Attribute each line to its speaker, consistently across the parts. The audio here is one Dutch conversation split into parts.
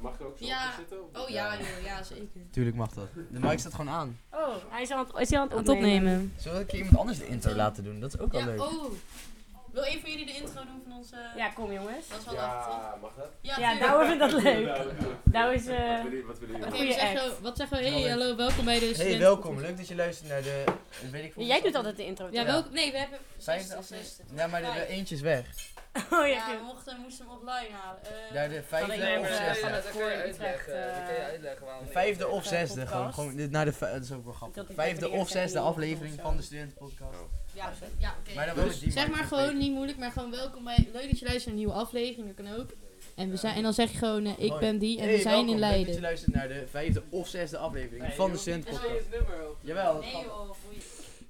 Speaker 1: Mag ik er ook zo
Speaker 2: Ja.
Speaker 1: op zitten? Of-
Speaker 2: Oh ja, joh, ja zeker.
Speaker 3: Tuurlijk mag dat.
Speaker 4: De mic staat gewoon aan.
Speaker 5: Oh, hij is aan het, is hij aan het
Speaker 6: Aan het
Speaker 5: opnemen.
Speaker 6: opnemen.
Speaker 4: Zullen we een keer iemand anders de intro laten doen? Dat is ook wel
Speaker 2: Ja,
Speaker 4: leuk.
Speaker 2: oh. Wil een van jullie de intro doen van onze...
Speaker 5: Ja, kom jongens.
Speaker 2: Dat is wel lachen, toch?
Speaker 1: Ja, mag dat?
Speaker 5: Ja,
Speaker 2: tuurlijk.
Speaker 5: Douwe vindt dat leuk.
Speaker 1: Nou, doe.
Speaker 5: Douwe is... eh,
Speaker 1: Wat willen- Wat willen
Speaker 2: Oké,
Speaker 1: jullie?
Speaker 5: Goeie
Speaker 2: we zeggen-
Speaker 5: act.
Speaker 2: wat zeggen we?
Speaker 4: Wel
Speaker 2: Hey,
Speaker 4: leuk.
Speaker 2: hallo, welkom bij de
Speaker 4: Hey,
Speaker 2: studenten-
Speaker 4: welkom. Leuk dat je luistert naar de. Weet ik veel.
Speaker 5: jij doet altijd de intro.
Speaker 2: Ja,
Speaker 5: toch?
Speaker 2: welkom. Nee, we hebben...
Speaker 4: Zijn ze
Speaker 2: 60,
Speaker 4: er
Speaker 2: 60.
Speaker 4: Ja, maar de, de
Speaker 2: Vijf.
Speaker 4: eentje is weg.
Speaker 5: Oh ja,
Speaker 2: Ja, we
Speaker 5: goed.
Speaker 2: mochten, moesten hem offline halen. Eh,
Speaker 4: Ja, de vijfde
Speaker 5: ik nemen,
Speaker 4: of
Speaker 5: eh,
Speaker 4: zesde.
Speaker 5: van het voor Utrecht,
Speaker 7: Dat kan je
Speaker 5: eh,
Speaker 7: uitleggen waarom.
Speaker 4: De vijfde of
Speaker 5: eh,
Speaker 4: zesde. Gewoon,
Speaker 5: podcast.
Speaker 4: gewoon dit- naar de vij- dat is ook wel
Speaker 5: Dat
Speaker 4: grappig.
Speaker 5: ik
Speaker 4: Vijfde
Speaker 5: even eerst
Speaker 4: of
Speaker 5: even
Speaker 4: zesde
Speaker 5: die
Speaker 4: aflevering
Speaker 5: of
Speaker 4: van
Speaker 5: zo.
Speaker 4: de studentenpodcast.
Speaker 2: ja, ja oké.
Speaker 4: Maar dan wel met die
Speaker 2: Zeg
Speaker 4: mic
Speaker 2: maar
Speaker 4: nog
Speaker 2: gewoon,
Speaker 4: beter.
Speaker 2: niet moeilijk, maar gewoon welkom bij... Leuk dat je luistert naar een nieuwe aflevering, dat kan ook. En, we zijn, en dan zeg je gewoon, eh, ik
Speaker 4: Hoi.
Speaker 2: ben die en
Speaker 4: Hey,
Speaker 2: we zijn
Speaker 4: welkom.
Speaker 2: in
Speaker 4: Leuk dat je
Speaker 2: Leiden.
Speaker 4: luistert naar de vijfde of zesde aflevering van de studentenpodcast. Jawel. dat
Speaker 2: Nee
Speaker 4: gaat-
Speaker 2: joh, boeien.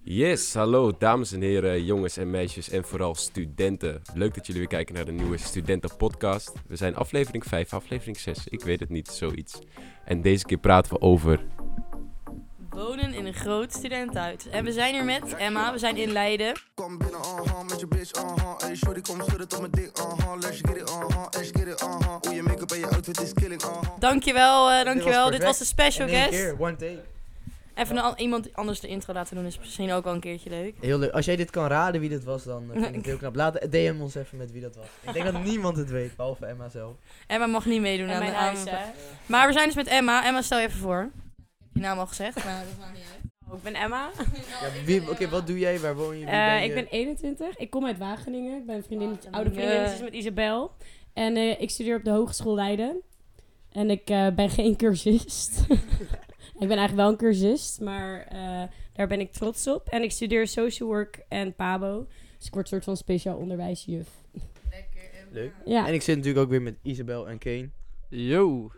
Speaker 1: Yes, hallo dames en heren, jongens en meisjes en vooral studenten. Leuk dat jullie weer kijken naar de nieuwe studentenpodcast. We zijn aflevering 5, aflevering 6, ik weet het niet, zoiets. En deze keer praten we over...
Speaker 6: Wonen in een groot studentenhuis. En we zijn hier met Emma, we zijn in Leiden.
Speaker 8: Kom binnen, uh-huh, met je bitch, uh-huh Hey, shorty, kom schudden tot mijn dik, uh-huh Let's get it, uh-huh, let's get it, uh-huh Hoe je make-up en je outfit is killing, uh-huh
Speaker 6: Dankjewel, eh,
Speaker 4: Dit was
Speaker 6: dankjewel. Dit
Speaker 4: perfect.
Speaker 6: was de special
Speaker 4: In één
Speaker 6: guest.
Speaker 4: keer, one take.
Speaker 6: Even een an- iemand anders de intro laten doen is misschien ook wel een keertje leuk.
Speaker 4: Heel leuk. Als jij dit kan raden wie dit was, dan eh, vind ik het heel knap. Laat DM ons even met wie dat was. Ik denk dat niemand het weet, behalve Emma zelf.
Speaker 6: Emma mag niet meedoen
Speaker 5: En
Speaker 6: aan
Speaker 5: mijn
Speaker 6: de
Speaker 5: huis,
Speaker 6: aan-
Speaker 5: hè.
Speaker 6: Maar we zijn dus met Emma. Emma, stel je even voor. Ik heb je naam al gezegd.
Speaker 2: Nou, dat maakt niet uit.
Speaker 5: Oh, ik ben Emma.
Speaker 4: Ja, wie- Oké, wat doe jij? Waar woon je? Wie
Speaker 5: Eh,
Speaker 4: ben je?
Speaker 5: ik ben 21. Ik kom uit Wageningen. Ik ben vriendin, oude
Speaker 6: Ja.
Speaker 5: vriendin met Isabel. En eh, ik studeer op de Hogeschool Leiden. En ik eh, ben geen cursist. ik ben eigenlijk wel een cursist, maar eh, daar ben ik trots op. En ik studeer social work en PABO. Dus ik word soort van speciaal onderwijsjuf.
Speaker 4: Leuk.
Speaker 5: Ja.
Speaker 4: En ik zit natuurlijk ook weer met Isabel en Kane.
Speaker 7: Yo!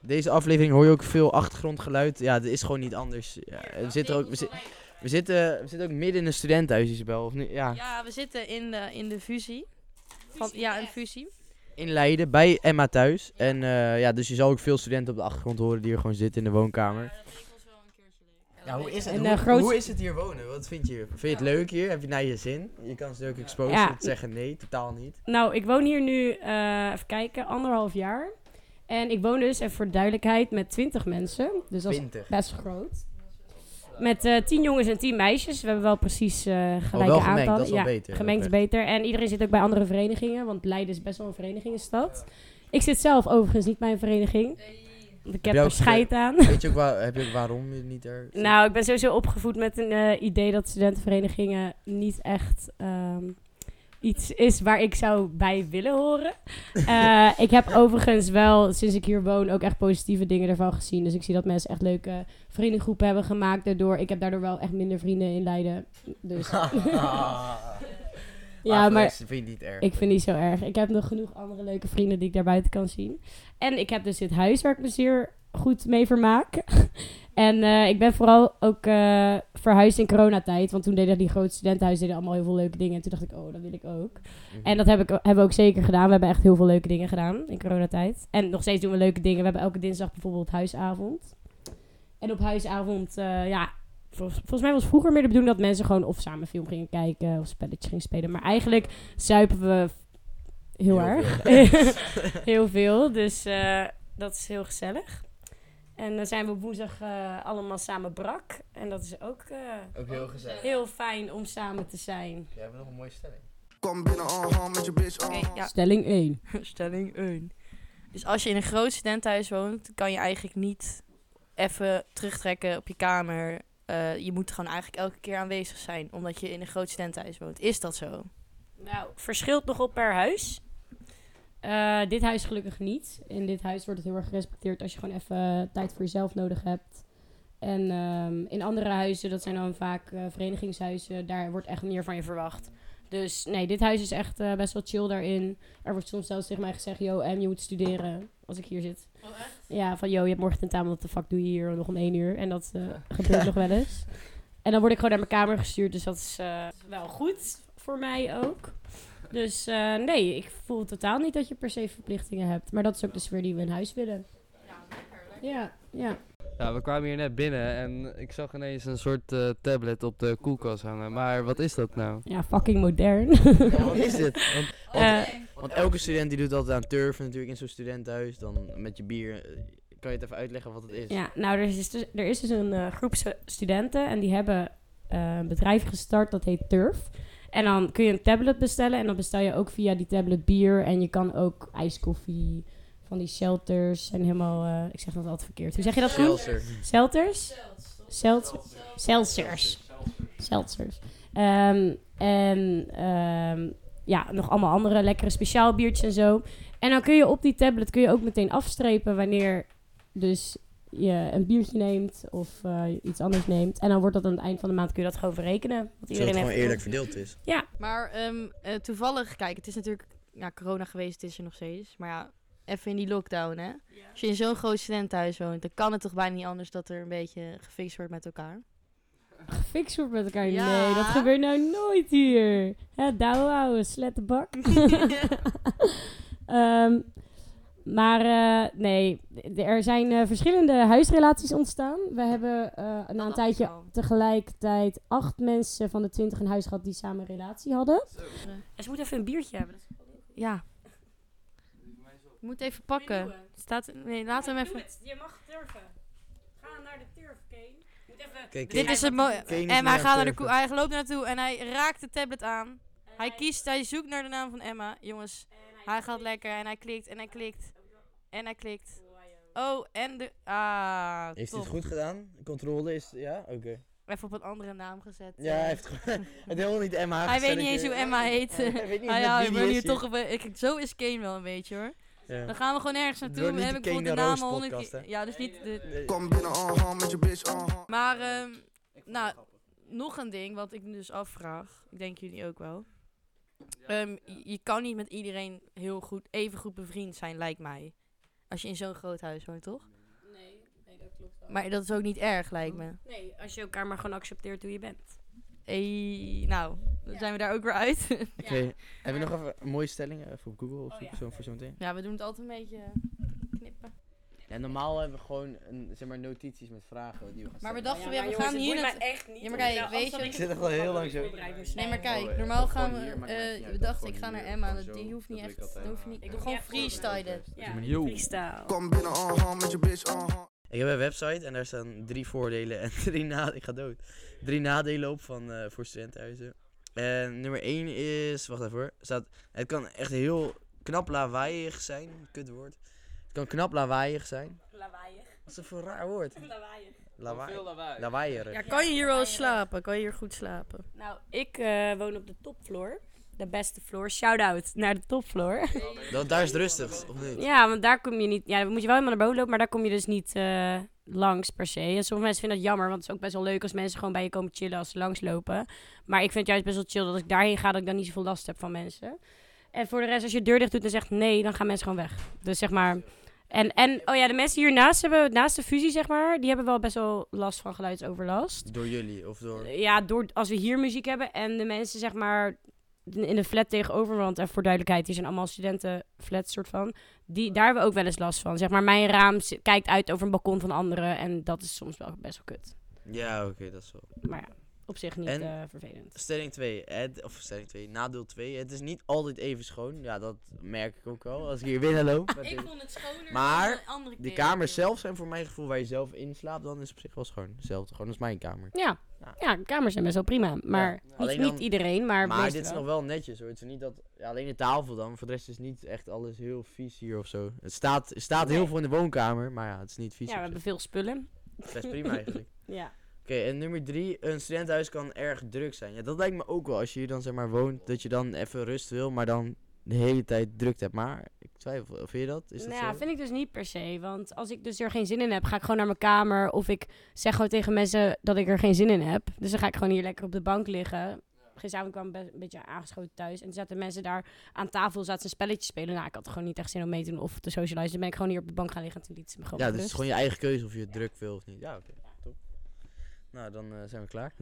Speaker 4: Deze aflevering hoor je ook veel achtergrondgeluid. Ja, dat is gewoon niet anders. Ja, we, zitten er ook, we, zi- we, zitten, we zitten ook midden in een studentenhuis, Isabel. Of niet? Ja,
Speaker 6: Ja, we zitten in de, in de fusie. Van, ja, een fusie.
Speaker 4: in Leiden, bij Emma thuis. En eh, ja, dus je zal ook veel studenten op de achtergrond horen die hier gewoon zitten in de woonkamer. Ja, hoe is het,
Speaker 5: En,
Speaker 4: hoe,
Speaker 5: eh, groot-
Speaker 4: hoe is het hier wonen? Wat vind je hier? Vind je het leuk hier? Heb je naar je zin? Je kan ze ook exposen
Speaker 5: Ja.
Speaker 4: en zeggen nee, totaal niet.
Speaker 5: Nou, ik woon hier nu, eh, even kijken, anderhalf jaar. En ik woon dus, even voor de duidelijkheid, met 20 mensen. Dus dat is
Speaker 4: 20.
Speaker 5: best groot. Met eh 10 jongens en 10 meisjes. We hebben wel precies eh gelijke
Speaker 4: Oh, wel gemengd,
Speaker 5: aantallen.
Speaker 4: dat is wel
Speaker 5: ja,
Speaker 4: beter,
Speaker 5: Gemengd is beter. En iedereen zit ook bij andere verenigingen, want Leiden is best wel een verenigingenstad. Ik zit zelf overigens niet bij een vereniging. Want ik heb
Speaker 4: jij ook
Speaker 5: er scheid aan.
Speaker 4: Weet je ook, waar, heb je ook waarom je niet er... zit?
Speaker 5: Nou, ik ben sowieso opgevoed met een eh, idee dat studentenverenigingen niet echt ehm, iets is waar ik zou bij willen horen. Eh, ik heb overigens wel, sinds ik hier woon, ook echt positieve dingen ervan gezien. Dus ik zie dat mensen echt leuke vriendengroepen hebben gemaakt daardoor. Ik heb daardoor wel echt minder vrienden in Leiden. Dus ja,
Speaker 4: voor de
Speaker 5: maar
Speaker 4: rest Ah, vind je niet erg.
Speaker 5: ik vind niet zo erg. Ik heb nog genoeg andere leuke vrienden die ik daar buiten kan zien. En ik heb dus dit huis waar ik me zeer goed mee vermaak. en eh, ik ben vooral ook eh, verhuisd in coronatijd. Want toen deden die grote studentenhuizen deden allemaal heel veel leuke dingen. En toen dacht ik, oh, dat wil ik ook.
Speaker 4: Mhm.
Speaker 5: En dat heb ik, hebben we ook zeker gedaan. We hebben echt heel veel leuke dingen gedaan in coronatijd. En nog steeds doen we leuke dingen. We hebben elke dinsdag bijvoorbeeld huisavond. En op huisavond, eh, ja, vol- volgens mij was vroeger meer de bedoeling dat mensen gewoon of samen film gingen kijken of spelletjes gingen spelen. Maar eigenlijk zuipen we heel,
Speaker 4: Heel
Speaker 5: erg. heel veel. Dus eh, dat is heel gezellig. En dan zijn we op woensdag eh, allemaal samen brak. En dat is ook eh,
Speaker 4: Ook heel gezellig.
Speaker 5: heel fijn om samen te zijn.
Speaker 4: Jij hebt nog een mooie stelling.
Speaker 8: Kom binnen, uh-huh, met je bitch, uh-huh
Speaker 6: Oké, ja.
Speaker 5: Stelling 1.
Speaker 6: Stelling 1. Dus als je in een groot studentenhuis woont, kan je eigenlijk niet even terugtrekken op je kamer. Eh, je moet gewoon eigenlijk elke keer aanwezig zijn, omdat je in een groot studentenhuis woont. Is dat zo?
Speaker 5: Nou, verschilt nogal per huis. Eh, dit huis gelukkig niet. In dit huis wordt het heel erg gerespecteerd als je gewoon even eh, tijd voor jezelf nodig hebt. En ehm, in andere huizen, dat zijn dan vaak eh, verenigingshuizen, daar wordt echt meer van je verwacht. Dus nee, dit huis is echt eh, best wel chill daarin. Er wordt soms zelfs tegen mij gezegd, yo, en je moet studeren als ik hier zit.
Speaker 2: Oh, echt?
Speaker 5: Ja, van, yo, je hebt morgen tentamen, wat de fuck doe je hier nog om één uur? En dat eh, gebeurt nog wel eens. En dan word ik gewoon naar mijn kamer gestuurd, dus dat is eh, wel goed voor mij ook. Dus eh, nee, ik voel totaal niet dat je per se verplichtingen hebt. Maar dat is ook de sfeer die we in huis willen. Ja, ja.
Speaker 3: Ja, we kwamen hier net binnen en ik zag ineens een soort eh, tablet op de koelkast hangen. Maar wat is dat nou?
Speaker 5: Ja, fucking modern.
Speaker 4: Ja, wat is dit? Want, want,
Speaker 5: Eh,
Speaker 4: want elke student die doet altijd aan turf natuurlijk in zo'n studentenhuis. Dan met je bier. eh, Kan je het even uitleggen wat het is?
Speaker 5: Ja, nou, er is dus, er is dus een eh, groep stu- studenten en die hebben eh, een bedrijf gestart dat heet Turf. En dan kun je een tablet bestellen en dan bestel je ook via die tablet bier en je kan ook ijskoffie van die shelters en helemaal, eh, ik zeg dat altijd verkeerd. Hoe zeg je dat goed?
Speaker 4: Seltzer.
Speaker 5: Shelters? Selters. Seltzers. Seltzers. Ehm, en ehm, ja, nog allemaal andere lekkere speciaal biertjes en zo. En dan kun je op die tablet kun je ook meteen afstrepen wanneer dus je een biertje neemt of eh, iets anders neemt. En dan wordt dat aan het eind van de maand kun je dat gewoon verrekenen. Wat
Speaker 4: Zodat
Speaker 5: iedereen
Speaker 4: het gewoon
Speaker 5: heeft.
Speaker 4: eerlijk verdeeld is.
Speaker 6: Maar ehm, eh, toevallig, kijk, het is natuurlijk ja, corona geweest, het is er nog steeds. Maar ja, even in die lockdown, hè. Als je in zo'n groot studentenhuis woont, dan kan het toch bijna niet anders dat er een beetje gefixt wordt met elkaar.
Speaker 5: Gefixt wordt met elkaar.
Speaker 6: Ja.
Speaker 5: Nee, dat gebeurt nou nooit hier. Hè, douwe ouwe, slette bak. Ehm, maar eh, nee, d- er zijn eh, verschillende huisrelaties ontstaan. We hebben eh, na een tijdje tegelijkertijd acht mensen van de twintig in huis gehad die samen een relatie hadden. En Eh, ze moeten even een biertje hebben.
Speaker 6: Ja. Ik moet even pakken. Staat, nee, laten we hem even...
Speaker 5: Je mag turven. Ga naar de turf, Kane. Moet even...
Speaker 4: Kijk, eh.
Speaker 6: Dit is het mooie.
Speaker 4: Kane is
Speaker 6: Emma
Speaker 4: niet
Speaker 6: gaat naar de
Speaker 4: aan
Speaker 6: koe. Hij loopt naartoe en hij raakt de tablet aan. Hij kiest, hij zoekt naar de naam van Emma. Jongens, hij gaat lekker en hij klikt en hij klikt. En hij klikt. Oh, en de... Ah,
Speaker 4: Heeft hij
Speaker 6: top.
Speaker 4: het goed gedaan? Controle is. Ja, oké.
Speaker 6: Even op een andere naam gezet. eh.
Speaker 4: Ja, hij heeft gewoon. Het helemaal niet Emma.
Speaker 6: Hij weet
Speaker 4: gezellig,
Speaker 6: niet eens hoe
Speaker 4: eh,
Speaker 6: Emma heet.
Speaker 4: hij weet niet
Speaker 6: Ah
Speaker 4: eens
Speaker 6: ja,
Speaker 4: wie die
Speaker 6: maar nu
Speaker 4: is.
Speaker 6: toch een be- ik- Zo is Kane wel een beetje hoor.
Speaker 4: Ja.
Speaker 6: Dan gaan we gewoon ergens naartoe.
Speaker 4: wordt
Speaker 6: Dan
Speaker 4: niet
Speaker 6: heb
Speaker 4: de
Speaker 6: ik bijvoorbeeld de naam
Speaker 4: Kane en
Speaker 6: al
Speaker 4: Roos
Speaker 6: honderd
Speaker 4: podcast,
Speaker 6: keer. Ja, dus niet... De,
Speaker 4: Nee.
Speaker 8: Kom binnen, uh -huh, met je bitch, uh -huh.
Speaker 6: maar, ehm, nou, nog een ding wat ik me dus afvraag. Ik denk jullie ook wel. Ehm, je- je kan niet met iedereen heel goed, even goed bevriend zijn, lijkt mij. Als je in zo'n groot huis woont, toch?
Speaker 5: Nee, nee, dat klopt wel.
Speaker 6: Maar dat is ook niet erg, lijkt me.
Speaker 5: Nee, als je elkaar maar gewoon accepteert hoe je bent.
Speaker 6: Ey, nou, dan zijn we daar ook weer uit.
Speaker 4: Oké, hebben we nog even een mooie stelling eh, voor Google of zo, zo voor zometeen?
Speaker 6: Oh ja, we doen het altijd een beetje eh, knippen.
Speaker 4: Ja, normaal hebben we gewoon een, zeg maar, notities met vragen die we gaan
Speaker 6: Maar we
Speaker 4: stellen.
Speaker 6: dachten, we gaan hier... naartoe-
Speaker 5: echt niet.
Speaker 6: Ja, maar kijk, weet je...
Speaker 4: Ik zit echt al heel lang zo.
Speaker 6: Nee, maar
Speaker 4: Oh,
Speaker 6: kijk,
Speaker 4: ja.
Speaker 6: normaal
Speaker 4: Of
Speaker 6: gaan we.
Speaker 4: gewoon hier, maar het maakt niet
Speaker 6: eh,
Speaker 4: uit.
Speaker 6: we
Speaker 4: Of
Speaker 6: dachten,
Speaker 4: gewoon
Speaker 6: ik ga naar
Speaker 4: hier,
Speaker 6: Emma.
Speaker 4: gewoon
Speaker 6: dat-
Speaker 4: zo.
Speaker 6: Die hoeft
Speaker 4: Dat
Speaker 6: niet
Speaker 4: doe
Speaker 6: echt.
Speaker 4: ik altijd.
Speaker 6: dat hoeft niet.
Speaker 5: Ik doe
Speaker 6: gewoon
Speaker 5: niet echt voorbereid.
Speaker 6: freestylen.
Speaker 5: Ja,
Speaker 1: Yo.
Speaker 5: freestyle.
Speaker 8: Kom binnen, uh -huh, met je bitch, uh -huh.
Speaker 4: Ik heb een website en daar staan drie voordelen en drie nadelen. Ik ga dood. Drie nadelen op van, eh, voor studentenhuizen. En nummer één is, wacht even hoor. Staat, het kan echt heel knap lawaaiig zijn. Kut woord. Het kan knap lawaaiig zijn.
Speaker 5: Lawaaiig.
Speaker 4: Wat is dat voor een raar woord?
Speaker 5: Lawaaiig.
Speaker 4: Lawaai. Lawaaierig.
Speaker 6: Ja, eh, kan je hier wel slapen? Kan je hier goed slapen?
Speaker 5: Nou, ik eh, woon op de topvloer. De beste floor. Shout-out naar de topvloer.
Speaker 4: Dat, daar is het rustig, of niet?
Speaker 5: ja, want daar kom je niet... Ja, dan moet je wel helemaal naar boven lopen, maar daar kom je dus niet eh, langs per se. En sommige mensen vinden dat jammer, want het is ook best wel leuk als mensen gewoon bij je komen chillen als ze langslopen. Maar ik vind het juist best wel chill dat als ik daarheen ga, dat ik dan niet zoveel last heb van mensen. En voor de rest, als je de deur dicht doet en zegt nee, dan gaan mensen gewoon weg. Dus zeg maar... En, en, oh ja, de mensen hiernaast hebben, naast de fusie zeg maar, die hebben wel best wel last van geluidsoverlast.
Speaker 4: Door jullie of door.
Speaker 5: Ja, door, als we hier muziek hebben en de mensen zeg maar in de flat tegenover, want en voor duidelijkheid, die zijn allemaal studentenflats soort van. Die, daar hebben we ook wel eens last van. Zeg maar, mijn raam zi- kijkt uit over een balkon van anderen en dat is soms wel best wel kut.
Speaker 4: Ja, oké, dat is wel.
Speaker 5: Maar ja, op zich niet
Speaker 4: En?
Speaker 5: eh, vervelend.
Speaker 4: Stelling 2, het, of stelling 2, nadeel 2. Het is niet altijd even schoon. Ja, dat merk ik ook wel als ik hier binnen loop. Met dit-
Speaker 6: vond het schoner.
Speaker 4: Maar
Speaker 6: dan de andere
Speaker 4: De
Speaker 6: keer.
Speaker 4: kamers zelf zijn voor mijn gevoel waar je zelf in slaapt, dan is het op zich wel schoon. Hetzelfde, gewoon als mijn kamer.
Speaker 5: Ja,
Speaker 4: Ja.
Speaker 5: ja de kamers zijn best wel prima. Maar niet,
Speaker 4: Alleen dan-
Speaker 5: niet iedereen, maar,
Speaker 4: Maar
Speaker 5: meestal
Speaker 4: dit is
Speaker 5: wel.
Speaker 4: nog wel netjes hoor. Het is niet dat, ja, alleen de tafel dan, voor de rest is niet echt alles heel vies hier of zo. Het staat, er staat heel
Speaker 5: Nee.
Speaker 4: veel in de woonkamer, maar ja, het is niet vies.
Speaker 5: Ja, we
Speaker 4: op
Speaker 5: hebben veel spullen.
Speaker 4: zich. Best prima eigenlijk.
Speaker 5: Ja.
Speaker 4: Oké, en nummer 3, een studentenhuis kan erg druk zijn. Ja, dat lijkt me ook wel. Als je hier dan zeg maar woont, dat je dan even rust wil, maar dan de hele tijd druk hebt. Maar ik twijfel, vind je dat? Is dat
Speaker 5: nou ja,
Speaker 4: zo?
Speaker 5: vind ik dus niet per se. Want als ik dus er geen zin in heb, ga ik gewoon naar mijn kamer. Of ik zeg gewoon tegen mensen dat ik er geen zin in heb. Dus dan ga ik gewoon hier lekker op de bank liggen. Gisteravond kwam ik best een beetje aangeschoten thuis. En toen zaten mensen daar aan tafel, zaten ze een spelletje spelen. Nou, ik had gewoon niet echt zin om mee te doen of te socializen. Dan ben ik gewoon hier op de bank gaan liggen en toen liet ze me gewoon
Speaker 4: Ja,
Speaker 5: met
Speaker 4: dus het is
Speaker 5: rust.
Speaker 4: gewoon je eigen keuze of je het druk wil of niet. Ja, oké, top. Nou, dan eh, zijn we klaar.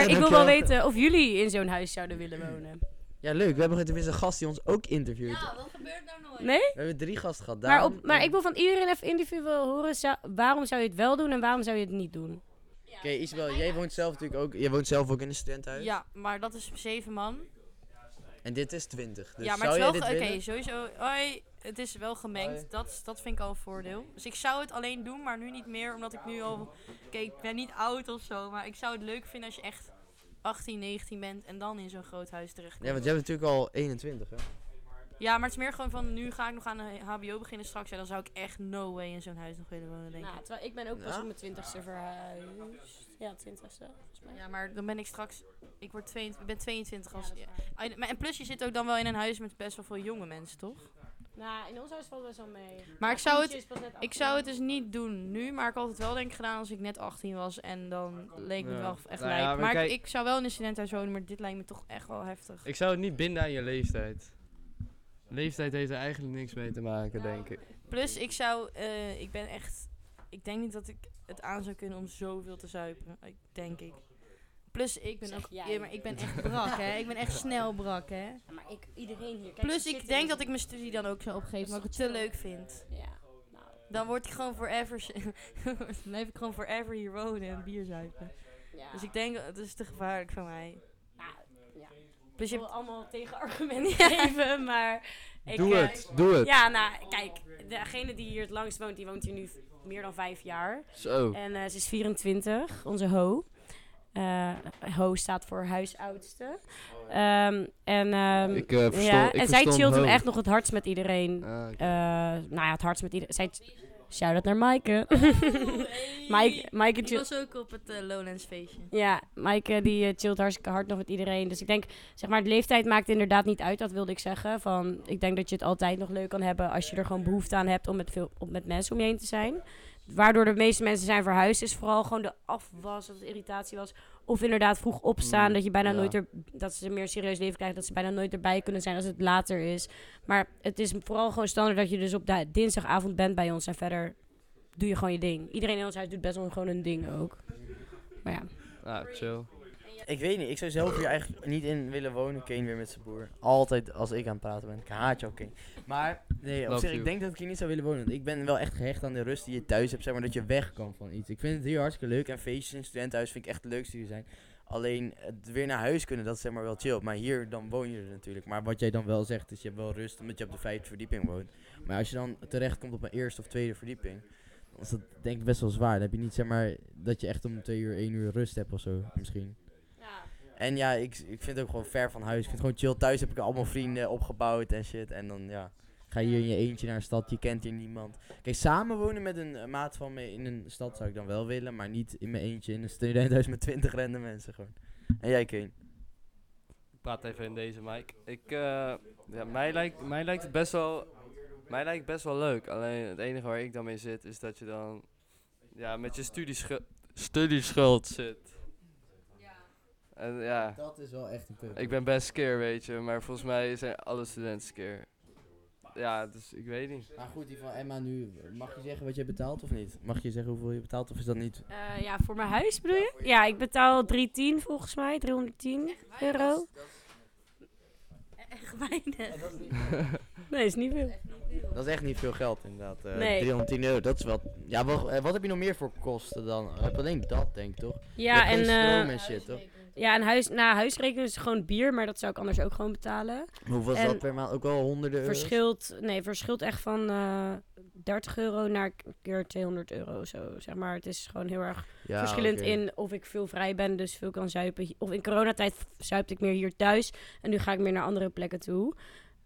Speaker 4: Ja,
Speaker 5: ik wil wel
Speaker 4: dankjewel. Mm.
Speaker 5: weten of jullie in zo'n huis zouden willen wonen.
Speaker 4: Ja, leuk. We hebben tenminste een gast die ons ook interviewt.
Speaker 6: Ja, wat gebeurt nou nooit?
Speaker 5: Nee?
Speaker 4: We hebben drie gasten gehad.
Speaker 5: Maar,
Speaker 4: Daan
Speaker 5: op, maar
Speaker 4: en-
Speaker 5: ik wil van iedereen even individueel horen, zou- waarom zou je het wel doen en waarom zou je het niet doen?
Speaker 4: Oké, Isabel, jij woont zelf natuurlijk ook, jij woont zelf ook in een studentenhuis.
Speaker 6: Ja, maar dat is zeven man.
Speaker 4: En dit is 20. Dus
Speaker 6: ja, maar
Speaker 4: zou
Speaker 6: het is wel.
Speaker 4: jij
Speaker 6: ge-
Speaker 4: dit
Speaker 6: Oké,
Speaker 4: willen?
Speaker 6: sowieso. Hoi, het is wel gemengd.
Speaker 4: Hoi.
Speaker 6: Dat, is- dat vind ik al een voordeel. Dus ik zou het alleen doen, maar nu niet meer. Omdat ik nu al. Oké, ik ben niet oud of zo. Maar ik zou het leuk vinden als je echt 18, 19 bent. En dan in zo'n groot huis terechtkomt.
Speaker 4: Ja, want jij bent natuurlijk al 21, hè?
Speaker 6: Ja, maar het is meer gewoon van. Nu ga ik nog aan de HBO beginnen straks. En dan zou ik echt no way in zo'n huis nog willen wonen, denk ik.
Speaker 5: Nou, terwijl ik ben ook
Speaker 4: pas Ja. op
Speaker 5: mijn twintigste verhuisd. Ja, twintigste, volgens mij.
Speaker 6: Ja, maar dan ben ik straks. Ik word 22, ik ben 22 als. Ah, maar- En plus, je zit ook dan wel in een huis met best wel veel jonge mensen, toch?
Speaker 5: Nou, in ons huis valt best wel mee.
Speaker 6: Maar ik zou het- Ik zou het dus niet doen nu, maar ik had het wel denk ik gedaan als ik net 18 was. En dan leek me het
Speaker 3: Ja.
Speaker 6: wel echt
Speaker 3: Nou ja,
Speaker 6: lijp.
Speaker 3: maar
Speaker 6: Maar
Speaker 3: kijk-
Speaker 6: ik, ik zou wel in een studentenhuis wonen, maar dit lijkt me toch echt wel heftig.
Speaker 3: Ik zou het niet binden aan je leeftijd. Leeftijd heeft er eigenlijk niks mee te maken, denk ik.
Speaker 6: Plus, ik zou, eh, ik ben echt, ik denk niet dat ik het aan zou kunnen om zoveel te zuipen, Ik- denk ik. Plus, ik ben
Speaker 5: Zeg
Speaker 6: ook,
Speaker 5: jij.
Speaker 6: ja, maar ik ben echt brak, hè. Ik ben echt snel brak, hè.
Speaker 5: Maar ik, iedereen hier.
Speaker 6: Plus, ik
Speaker 5: dus
Speaker 6: denk dat ik mijn studie dan ook zou opgeven, maar ik het te leuk vind.
Speaker 5: Ja, nou.
Speaker 6: Dan word ik gewoon forever, dan blijf ik gewoon forever hier wonen en bier zuipen.
Speaker 5: Ja.
Speaker 6: Dus ik denk, het is te gevaarlijk voor mij.
Speaker 5: ja.
Speaker 6: Plus, je
Speaker 5: Ik
Speaker 6: hebt
Speaker 5: wil allemaal tegenargumenten geven, maar... Ik,
Speaker 3: doe
Speaker 5: eh,
Speaker 3: het, doe het.
Speaker 5: Ja, nou, kijk. Degene die hier het langst woont, die woont hier nu v- meer dan vijf jaar.
Speaker 3: Zo.
Speaker 5: En eh, ze is 24, onze Ho. Eh, ho staat voor huisoudste. Ehm, en ehm,
Speaker 3: Ik eh verstond,
Speaker 5: ja,
Speaker 3: ik
Speaker 5: en zij
Speaker 3: verstond
Speaker 5: chillt hem
Speaker 3: hoog.
Speaker 5: echt nog het hardst met iedereen.
Speaker 3: Ah, oké.
Speaker 5: Eh, nou ja, het hardst met iedereen. Zij... Shout-out naar Maaike. Maaike, Maaike
Speaker 6: Oh, Ik
Speaker 5: chill-
Speaker 6: was ook op het eh, Lowlands feestje.
Speaker 5: Ja, Maaike die eh, chillt hartstikke hard nog met iedereen. Dus ik denk, zeg maar, de leeftijd maakt inderdaad niet uit. Dat wilde ik zeggen. Van, ik denk dat je het altijd nog leuk kan hebben als je er gewoon behoefte aan hebt om met, veel, om met mensen om je heen te zijn. Waardoor de meeste mensen zijn verhuisd, is vooral gewoon de afwas of de irritatie was. Of inderdaad vroeg opstaan,
Speaker 3: Mm,
Speaker 5: dat je bijna
Speaker 3: ja.
Speaker 5: nooit er, dat ze een meer serieus leven krijgen, dat ze bijna nooit erbij kunnen zijn als het later is. Maar het is vooral gewoon standaard dat je dus op de dinsdagavond bent bij ons en verder doe je gewoon je ding. Iedereen in ons huis doet best wel gewoon hun ding ook. Maar ja.
Speaker 3: Ah, chill.
Speaker 4: Ik weet niet, ik zou zelf hier eigenlijk niet in willen wonen. Kane weer met zijn broer. Altijd als ik aan het praten ben. Ik haat jou, Kane. Maar, nee, op
Speaker 3: Love
Speaker 4: zich,
Speaker 3: you.
Speaker 4: ik denk dat ik hier niet zou willen wonen. Want ik ben wel echt gehecht aan de rust die je thuis hebt. Zeg maar dat je weg kan van iets. Ik vind het hier hartstikke leuk. En feestjes in het studentenhuis vind ik echt het leukste hier zijn. Alleen het weer naar huis kunnen, dat is zeg maar wel chill. Maar hier, dan woon je er natuurlijk. Maar wat jij dan wel zegt, is je hebt wel rust omdat je op de vijfde verdieping woont. Maar als je dan terechtkomt op een eerste of tweede verdieping. Dan is dat denk ik best wel zwaar. Dan heb je niet zeg maar dat je echt om twee uur, één uur rust hebt of zo. Misschien. En ja, ik, ik vind het ook gewoon ver van huis. Ik vind het gewoon chill. Thuis heb ik allemaal vrienden opgebouwd en shit. En dan ja, ga je hier in je eentje naar een stad. Je kent hier niemand. Kijk, samen wonen met een eh, maat van me in een stad zou ik dan wel willen. Maar niet in mijn eentje in een studentenhuis met twintig rende mensen gewoon. En jij, Kane?
Speaker 3: Ik praat even in deze mic. Ik, eh, ja, mij, lijkt, mij lijkt het best wel, mij lijkt best wel leuk. Alleen het enige waar ik dan mee zit is dat je dan ja, met je studieschuld, studieschuld zit. En ja,
Speaker 4: Dat is wel echt een punt.
Speaker 3: ik ben best skeer, weet je. Maar volgens mij zijn alle studenten skeer. Ja, dus ik weet niet.
Speaker 4: Maar goed, die van Emma nu. Mag je zeggen wat je betaalt of niet? Mag je zeggen hoeveel je betaalt of is dat niet?
Speaker 5: Eh, ja, voor mijn huis bedoel je? Ja, ik betaal 310 volgens mij, 310 euro.
Speaker 6: Echt weinig.
Speaker 5: Nee, is niet veel.
Speaker 4: Dat is echt niet veel geld inderdaad. Eh,
Speaker 5: Nee.
Speaker 4: 310 euro, dat is wel... Ja, wat, eh, wat heb je nog meer voor kosten dan? Je hebt alleen dat, denk ik, toch? Je
Speaker 5: Ja,
Speaker 4: hebt
Speaker 5: en,
Speaker 4: geen stroom
Speaker 5: eh
Speaker 4: en shit, toch?
Speaker 5: ja, en huis, na huisrekening is gewoon bier, maar dat zou ik anders ook gewoon betalen.
Speaker 4: Hoeveel is
Speaker 5: En-
Speaker 4: dat per maand? Ook wel honderden euro's?
Speaker 5: Verschilt, nee, verschilt echt van eh 30 euro naar k- keer 200 euro of zo, zeg maar. Het is gewoon heel erg
Speaker 4: Ja,
Speaker 5: verschillend
Speaker 4: oké.
Speaker 5: in of ik veel vrij ben, dus veel kan zuipen. Of in coronatijd zuipte ik meer hier thuis en nu ga ik meer naar andere plekken toe.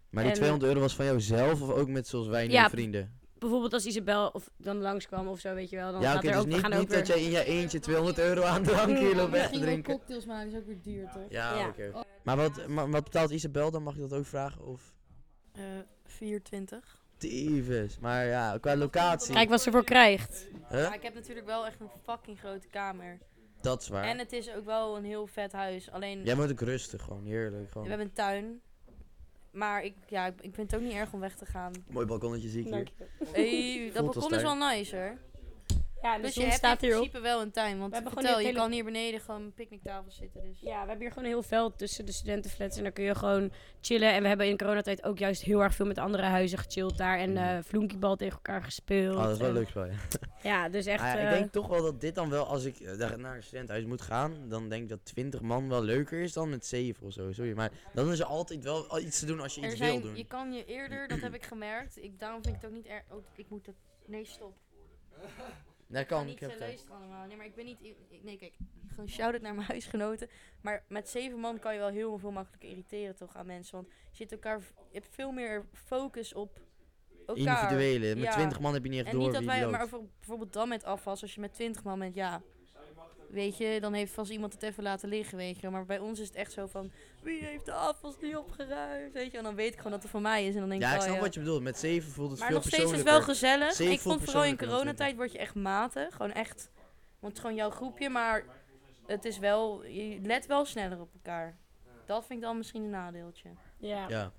Speaker 4: Maar die
Speaker 5: en-
Speaker 4: 200 euro was van jouzelf of ook met zoals wij nu
Speaker 5: Ja,
Speaker 4: vrienden?
Speaker 5: Bijvoorbeeld als Isabel of dan langskwam of zo, weet je wel. Dan
Speaker 4: Ja,
Speaker 5: gaat
Speaker 4: oké,
Speaker 5: er
Speaker 4: dus
Speaker 5: ook, we
Speaker 4: niet,
Speaker 5: gaan ook
Speaker 4: niet
Speaker 5: weer...
Speaker 4: dat jij in je eentje 200 euro aan drank hier loopt weg te
Speaker 2: Misschien wel
Speaker 4: drinken.
Speaker 2: cocktails maken, is ook weer duur, toch?
Speaker 4: Ja,
Speaker 5: Ja.
Speaker 4: oké. Maar wat, maar wat betaalt Isabel dan? Mag je dat ook vragen? Of...
Speaker 5: Eh,
Speaker 6: 24.
Speaker 4: Tyfus. Maar ja, qua locatie.
Speaker 5: Kijk wat ze voor krijgt.
Speaker 4: Huh?
Speaker 6: ik heb natuurlijk wel echt een fucking grote kamer.
Speaker 4: Dat is waar.
Speaker 6: En het is ook wel een heel vet huis. Alleen,
Speaker 4: Jij wordt ook rustig, gewoon heerlijk.
Speaker 6: we
Speaker 4: Gewoon.
Speaker 6: hebben een tuin. Maar ik, ja, ik ik vind het ook niet erg om weg te gaan.
Speaker 4: Mooi balkonnetje zie ik hier.
Speaker 6: Hey, dat
Speaker 4: als
Speaker 6: balkon is wel
Speaker 4: tuin.
Speaker 6: nice hoor.
Speaker 5: Ja, en de
Speaker 6: Dus
Speaker 5: zon
Speaker 6: je hebt in
Speaker 5: staat hier op.
Speaker 6: principe wel een tuin. Want
Speaker 5: We hebben gewoon
Speaker 6: vertel,
Speaker 5: die
Speaker 6: je
Speaker 5: tele-
Speaker 6: kan hier beneden gewoon een picknicktafel zitten. Dus.
Speaker 5: Ja, we hebben hier gewoon een heel veld tussen de studentenflats. En dan kun je gewoon chillen. En we hebben in coronatijd ook juist heel erg veel met andere huizen gechilld daar. En eh floenkiebal tegen elkaar gespeeld.
Speaker 4: Oh, dat is wel
Speaker 5: En-
Speaker 4: leuk spel, ja.
Speaker 5: Ja, dus echt...
Speaker 4: Ah ja, ik
Speaker 5: eh,
Speaker 4: denk toch wel dat dit dan wel, als ik eh, daar naar een studentenhuis moet gaan, dan denk ik dat 20 man wel leuker is dan met 7 of zo. Sorry, maar dan is er altijd wel al iets te doen als je
Speaker 6: Er
Speaker 4: iets
Speaker 6: zijn,
Speaker 4: wil doen.
Speaker 6: Je kan je eerder, dat heb ik gemerkt. Ik, daarom vind ik het ook niet erg. Oh, ik moet dat. Nee, stop.
Speaker 4: Dat
Speaker 6: Ik
Speaker 4: kan,
Speaker 6: niet
Speaker 4: ik heb
Speaker 6: te
Speaker 4: tijd.
Speaker 6: luisteren allemaal. Nee, maar ik ben niet. ik- ik- Nee, kijk. Gewoon shout-out naar mijn huisgenoten. Maar met zeven man kan je wel heel veel makkelijker irriteren toch aan mensen. Want je zit elkaar. Je hebt veel meer focus op elkaar.
Speaker 4: Individuele, met
Speaker 6: Ja.
Speaker 4: 20 man heb je niet echt
Speaker 6: En
Speaker 4: door
Speaker 6: niet dat
Speaker 4: wie
Speaker 6: wij,
Speaker 4: loopt.
Speaker 6: maar over- bijvoorbeeld dan met afwas, als je met 20 man bent, ja. Weet je, dan heeft vast iemand het even laten liggen, weet je. wel. Maar bij ons is het echt zo van, wie heeft de afwas niet opgeruimd, weet je. En dan weet ik gewoon dat het voor mij is. En dan denk
Speaker 4: Ja,
Speaker 6: ik,
Speaker 4: ik
Speaker 6: oh,
Speaker 4: snap
Speaker 6: ja.
Speaker 4: wat je bedoelt. Met 7 voelt het
Speaker 6: Maar
Speaker 4: veel
Speaker 6: nog steeds is het
Speaker 4: persoonlijker.
Speaker 6: wel gezellig.
Speaker 4: Zeven
Speaker 6: ik
Speaker 4: voelt
Speaker 6: vond vooral in
Speaker 4: persoonlijker dan
Speaker 6: coronatijd word je echt matig. Gewoon echt, want het is gewoon jouw groepje, maar het is wel, je let wel sneller op elkaar. Dat vind ik dan misschien een nadeeltje.
Speaker 5: ja.
Speaker 4: Ja.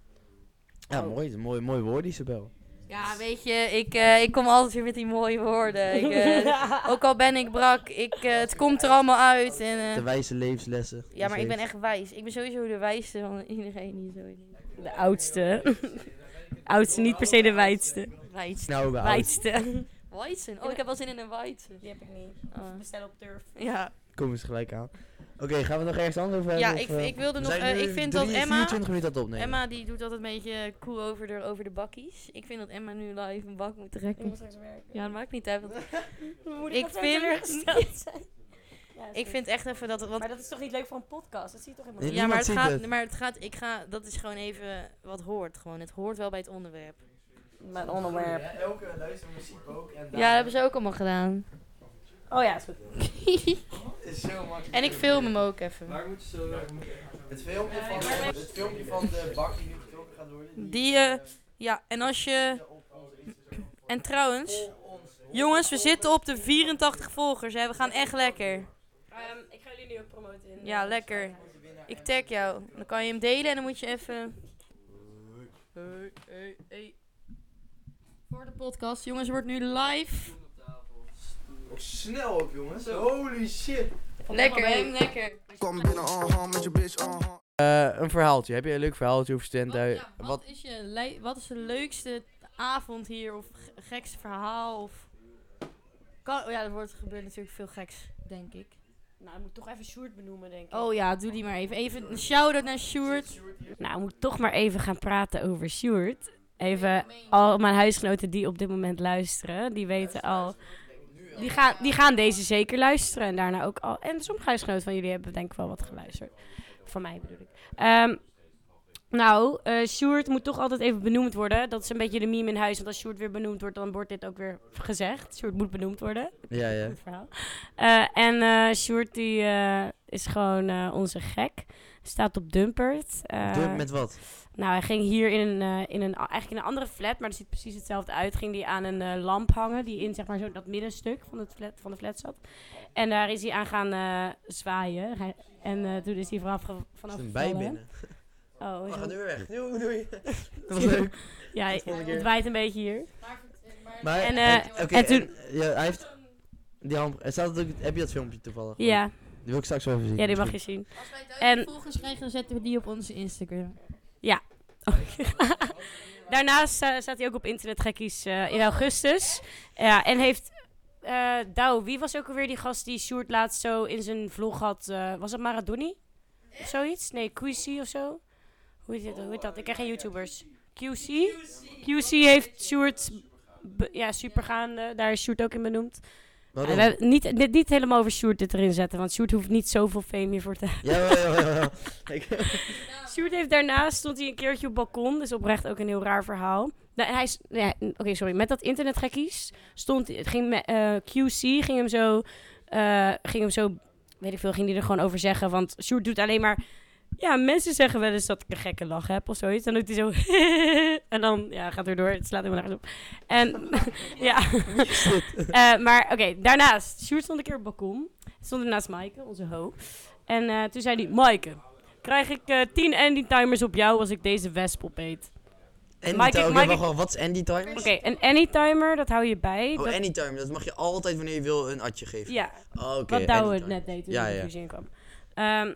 Speaker 4: Ja,
Speaker 6: Oh.
Speaker 4: mooi, mooi, mooi woord, Isabel.
Speaker 6: Ja, weet je, ik, eh, ik kom altijd weer met die mooie woorden. Ik, eh, ook al ben ik brak, ik, eh, het komt er allemaal uit. En, eh,
Speaker 4: De wijze levenslessen.
Speaker 6: ja, maar ik ben
Speaker 4: Steeds.
Speaker 6: echt wijs. Ik ben sowieso de wijste van iedereen hier zo.
Speaker 5: De oudste. oudste, niet per se de wijdste.
Speaker 6: Wijs.
Speaker 4: Nou, we houden-
Speaker 5: Wijdste. Oh.
Speaker 6: Wijzen. Oh, ik heb wel zin in een wijzen.
Speaker 5: Die heb ik niet.
Speaker 6: Ah.
Speaker 5: Bestel op durf.
Speaker 6: Ja,
Speaker 4: Kom eens gelijk aan. Oké, gaan we nog ergens anders over
Speaker 6: ja
Speaker 4: hebben,
Speaker 6: ik,
Speaker 4: of, eh,
Speaker 6: ik wilde
Speaker 4: we
Speaker 6: nog...
Speaker 4: zijn
Speaker 6: eh,
Speaker 4: nu
Speaker 6: ik vind dat
Speaker 4: drie-
Speaker 6: Emma...
Speaker 4: 24 minuten aan het opnemen.
Speaker 6: Emma die doet altijd een beetje koe over de, over de bakkies. Ik vind dat Emma nu live een bak moet trekken. Ja, dat maakt niet uit. want ik vind... ik vind echt even dat... het- Want
Speaker 5: Maar dat is toch niet leuk voor een podcast? Dat zie je toch helemaal
Speaker 4: Nee,
Speaker 5: niet?
Speaker 6: Ja, maar het,
Speaker 4: Niemand ziet
Speaker 6: gaat,
Speaker 4: het.
Speaker 6: maar het gaat, ik ga, dat is gewoon even wat hoort. Gewoon. Het hoort wel bij het onderwerp.
Speaker 5: Mijn onderwerp.
Speaker 4: elke luistermuziek ook. En
Speaker 6: Ja, dat hebben ze ook allemaal gedaan.
Speaker 5: Oh ja, is goed.
Speaker 4: is zo makkelijk.
Speaker 6: En ik film hem ook even.
Speaker 3: Waar moet je zo
Speaker 4: Het filmpje van, het filmpje van de bak die nu getrokken gaat worden.
Speaker 6: Die, eh, ja, en als je. En trouwens, jongens, we zitten op de 84 volgers. Hè. We gaan echt lekker.
Speaker 5: Ehm, ik ga jullie nu ook promoten. In,
Speaker 6: Ja, lekker. Ik tag jou. Dan kan je hem delen en dan moet je even. Voor de podcast, jongens, wordt nu live.
Speaker 4: snel op jongens. Holy shit.
Speaker 6: Lekker, hè? Lekker.
Speaker 8: Kom binnen, uh-huh, met je bitch, uh-huh.
Speaker 4: Eh, een verhaaltje. Heb je een leuk verhaaltje over
Speaker 5: Oh,
Speaker 4: studentenhuis?
Speaker 6: Wat, ja, wat, is je lei- wat is de leukste avond hier? Of ge- gekste verhaal? Of kan, oh ja, er wordt, gebeurt natuurlijk veel geks, denk ik.
Speaker 5: Nou, ik moet toch even Sjoerd benoemen, denk ik.
Speaker 6: Oh ja, doe die maar even. Even een shout-out naar Sjoerd.
Speaker 5: Nou, ik moet toch maar even gaan praten over Sjoerd. Even al mijn huisgenoten die op dit moment luisteren, die weten al... Die gaan, die gaan deze zeker luisteren en daarna ook al... En sommige huisgenoten van jullie hebben denk ik wel wat geluisterd. Van mij bedoel ik. Ehm, nou, eh Sjoerd moet toch altijd even benoemd worden. Dat is een beetje de meme in huis. Want als Sjoerd weer benoemd wordt, dan wordt dit ook weer gezegd. Sjoerd moet benoemd worden.
Speaker 4: Ja, ja.
Speaker 5: Goed verhaal. Eh, en eh Sjoerd die, eh, is gewoon eh, onze gek. Staat op Dumpert. Eh,
Speaker 4: Doe het met wat?
Speaker 5: Nou, hij ging hier in een, eh, in een, eigenlijk in een andere flat, maar er ziet precies hetzelfde uit. Ging die aan een eh, lamp hangen die in zeg maar, zo dat middenstuk van, het flat, van de flat zat. En daar is hij aan gaan eh, zwaaien. Hij- en eh, toen is hij vanaf, ge- vanaf
Speaker 4: Is een bij
Speaker 5: gevallen.
Speaker 4: binnen.
Speaker 5: Oh,
Speaker 4: We
Speaker 5: is
Speaker 4: gaan
Speaker 5: dat-
Speaker 4: nu weer weg. Doei, doei. Dat was leuk.
Speaker 5: ja, hij-
Speaker 4: volgende keer.
Speaker 5: het waait een beetje hier.
Speaker 4: Maar,
Speaker 5: En, eh,
Speaker 4: oké,
Speaker 5: en toen-
Speaker 4: ja, hij heeft... Die ham, er staat ook, heb je dat filmpje toevallig?
Speaker 5: Ja,
Speaker 4: Die wil ik straks wel even zien.
Speaker 5: ja, die mag je
Speaker 4: misschien.
Speaker 5: zien.
Speaker 6: Als wij
Speaker 5: En-
Speaker 6: duizend volgers krijgen, dan zetten we die op onze Instagram.
Speaker 5: Daarnaast eh, staat hij ook op internetgekkies eh, in augustus. Ja, en heeft eh Douw, wie was ook alweer die gast die Sjoerd laatst zo in zijn vlog had? eh, was het Maradoni? Of zoiets? Nee, QC of zo? Hoe heet dat? Hoe heet dat? Ik ken geen YouTubers. QC? QC heeft Sjoerd... be- Ja, supergaande. Daar is Sjoerd ook in benoemd.
Speaker 4: Waarom?
Speaker 5: En we- niet, dit, niet helemaal over Sjoerd dit erin zetten, want Sjoerd hoeft niet zoveel fame hiervoor te
Speaker 4: Ja, ja, ja, ja, ja. Ik-
Speaker 5: Sjoerd heeft daarnaast, stond hij een keertje op het balkon. Dus oprecht ook een heel raar verhaal. Nou, en hij, is- nee, hij- Oké, sorry. Met dat internetgekkies stond, het ging me- eh, QC ging hem zo, eh, ging hem zo, weet ik veel, ging hij er gewoon over zeggen. Want Sjoerd doet alleen maar, ja, mensen zeggen wel eens dat ik een gekke lach heb of zoiets. Dan doet hij zo, en dan, ja, gaat er door. Het slaat helemaal nergens op. En, ja. Eh, maar oké, daarnaast, Sjoerd stond een keer op het balkon. Stond er naast Maaike, onze ho. En eh, toen zei hij, Maaike, krijg ik eh 10 ending timers op jou als ik deze wesp opeet.
Speaker 4: Andy
Speaker 6: Mike,
Speaker 4: timer. Oké,
Speaker 6: Mike-
Speaker 4: wacht, wacht, wat is Andy timer?
Speaker 5: Oké, een anytimer, dat hou je bij.
Speaker 4: Oh,
Speaker 5: dat,
Speaker 4: Andy timer. Dat mag je altijd wanneer je wil een atje geven.
Speaker 5: ja,
Speaker 4: Oh, oké,
Speaker 5: wat Douwe
Speaker 4: Andy
Speaker 5: het
Speaker 4: timer.
Speaker 5: net deed toen
Speaker 4: Ja,
Speaker 5: hij de
Speaker 4: ja.
Speaker 5: fusie inkwam. Ehm,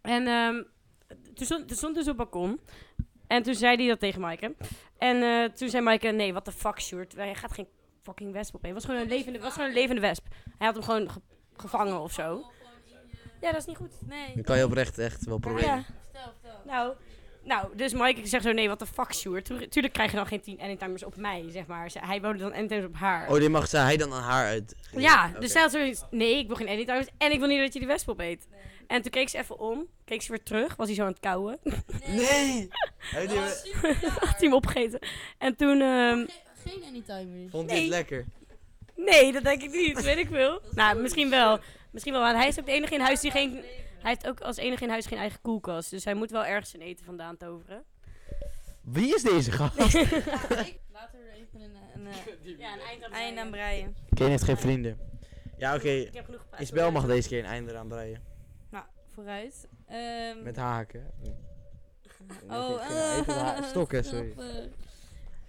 Speaker 5: en ehm, toen, stond, toen stond dus op het balkon. En toen zei hij dat tegen Maaike. En eh, toen zei Maaike, nee, what the fuck, Sjoerd. Hij gaat geen fucking wesp op. Het was, gewoon een levende- was gewoon een levende wesp. Hij had hem gewoon ge- gevangen of zo. Ja, dat is niet goed. Nee.
Speaker 4: Dan kan je oprecht echt wel proberen.
Speaker 5: Ja. Nou, nou, dus Mike zegt zo, nee, wat de fuck, Sjoerd. Tuur- Tuurlijk krijg je dan geen 10 anytimers op mij, zeg maar. Ze- Hij woonde dan anytimers op haar.
Speaker 4: Oh, die mag zij- hij dan aan haar uit.
Speaker 5: ja,
Speaker 4: Oké.
Speaker 5: dus zij had zoiets, nee, ik wil geen anytimers en ik wil niet dat je die wesp opeet. En toen keek ze even om, keek ze weer terug, was hij zo aan het kauwen.
Speaker 4: Nee!
Speaker 6: Nou,
Speaker 4: Hij deed-
Speaker 5: Oh, had hij hem opgegeten. En toen, ehm,
Speaker 2: Geen anytimer. dus.
Speaker 4: Vond hij het
Speaker 5: Nee.
Speaker 4: lekker?
Speaker 5: nee, dat denk ik niet, weet ik veel. Nou, misschien wel. Misschien wel, want hij is ook de enige in huis die geen... Hij heeft ook als enige in huis geen eigen koelkast. Dus hij moet wel ergens zijn eten vandaan toveren.
Speaker 4: Wie is deze gast?
Speaker 6: Later even een, eh, een,
Speaker 5: Ja, een eind
Speaker 6: eind aan breien.
Speaker 4: Ken heeft geen vrienden. Ja, oké.
Speaker 5: Ik heb genoeg gepraat.
Speaker 4: Isbel mag deze keer een einde eraan breien.
Speaker 6: Nou, vooruit. Ehm,
Speaker 4: Met haken.
Speaker 6: Oh,
Speaker 5: eh.
Speaker 4: Ja, even ha- stokken, sorry.
Speaker 6: grappig.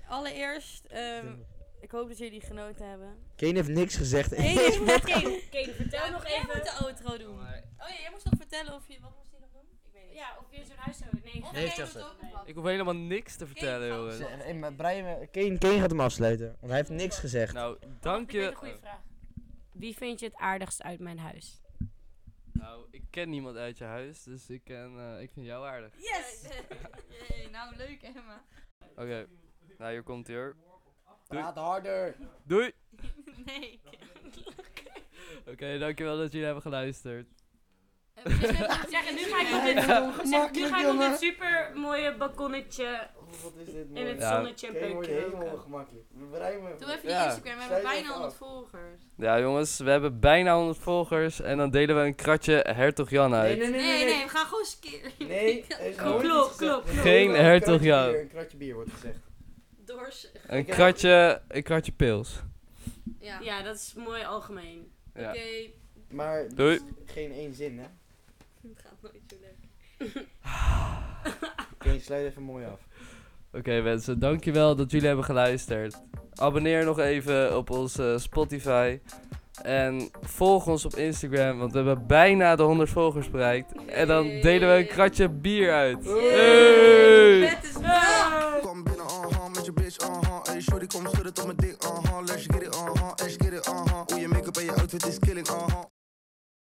Speaker 6: Allereerst, ehm, ik hoop dat jullie genoten hebben.
Speaker 4: Kane heeft niks gezegd.
Speaker 6: Nee, met
Speaker 5: Kane, vertel nog
Speaker 6: Jij
Speaker 5: even.
Speaker 6: moet de outro doen. Oh ja, jij moest nog vertellen of je... Wat moest je nog doen? Ik weet niet.
Speaker 5: Ja, of je zo'n huis zou... Nee,
Speaker 6: Of
Speaker 4: Nee,
Speaker 6: jij
Speaker 4: Chelsea.
Speaker 6: moet ook een
Speaker 3: Ik hoef helemaal niks te vertellen,
Speaker 6: Kane,
Speaker 3: jongens.
Speaker 4: Kane, Kane gaat hem afsluiten, want hij heeft niks gezegd.
Speaker 3: Nou, dank
Speaker 5: Ik weet
Speaker 3: je.
Speaker 5: een goede vraag. Wie vind je het aardigst uit mijn huis?
Speaker 3: Nou, ik ken niemand uit je huis, dus ik, ken, eh, ik vind jou aardig.
Speaker 6: Yes! Jee, nou leuk Emma.
Speaker 3: Oké, nou hier komt hij hoor.
Speaker 4: Praat harder!
Speaker 3: Doei!
Speaker 6: Nee. ik-
Speaker 3: Oké, dankjewel dat jullie hebben geluisterd.
Speaker 5: Zeg, nu ga ik op dit, zeg, nu ga ik op dit super mooie balkonnetje
Speaker 4: Wat is dit
Speaker 5: in het
Speaker 3: Ja.
Speaker 5: zonnetje een peukje roken.
Speaker 4: ongemakkelijk. We bereiken
Speaker 6: Doe even die
Speaker 3: Ja.
Speaker 6: Instagram, we hebben
Speaker 4: Sluit
Speaker 6: bijna
Speaker 4: even
Speaker 6: 100
Speaker 4: af.
Speaker 6: volgers.
Speaker 3: Ja jongens, we hebben bijna 100 volgers en dan delen we een kratje Hertog Jan uit.
Speaker 6: Nee, nee, we gaan gewoon skeren.
Speaker 5: nooit Klok, iets klok, gezegd. klok.
Speaker 3: Geen hertog jou.
Speaker 4: Een kratje bier wordt gezegd.
Speaker 6: Doors.
Speaker 3: Een kratje, een kratje pils.
Speaker 6: Ja.
Speaker 5: Ja, dat is mooi algemeen.
Speaker 3: Ja.
Speaker 6: Oké,
Speaker 4: Maar
Speaker 3: Doei.
Speaker 4: geen één zin, hè?
Speaker 6: het gaat nooit zo leuk.
Speaker 4: Kane, sluit even mooi af.
Speaker 3: Oké mensen, dankjewel dat jullie hebben geluisterd. Abonneer nog even op onze Spotify. En volg ons op Instagram, want we hebben bijna de 100 volgers bereikt. En dan delen we een kratje bier uit. Hey!
Speaker 6: Het is wel.
Speaker 8: Kom binnen, uh-huh, met je bitch, uh-huh. Hey, shorty, kom schudden tot mijn dik, uh-huh. Let's get it, uh-huh, let's get it, uh-huh. Hoe je make-up en je outfit is killing, uh-huh.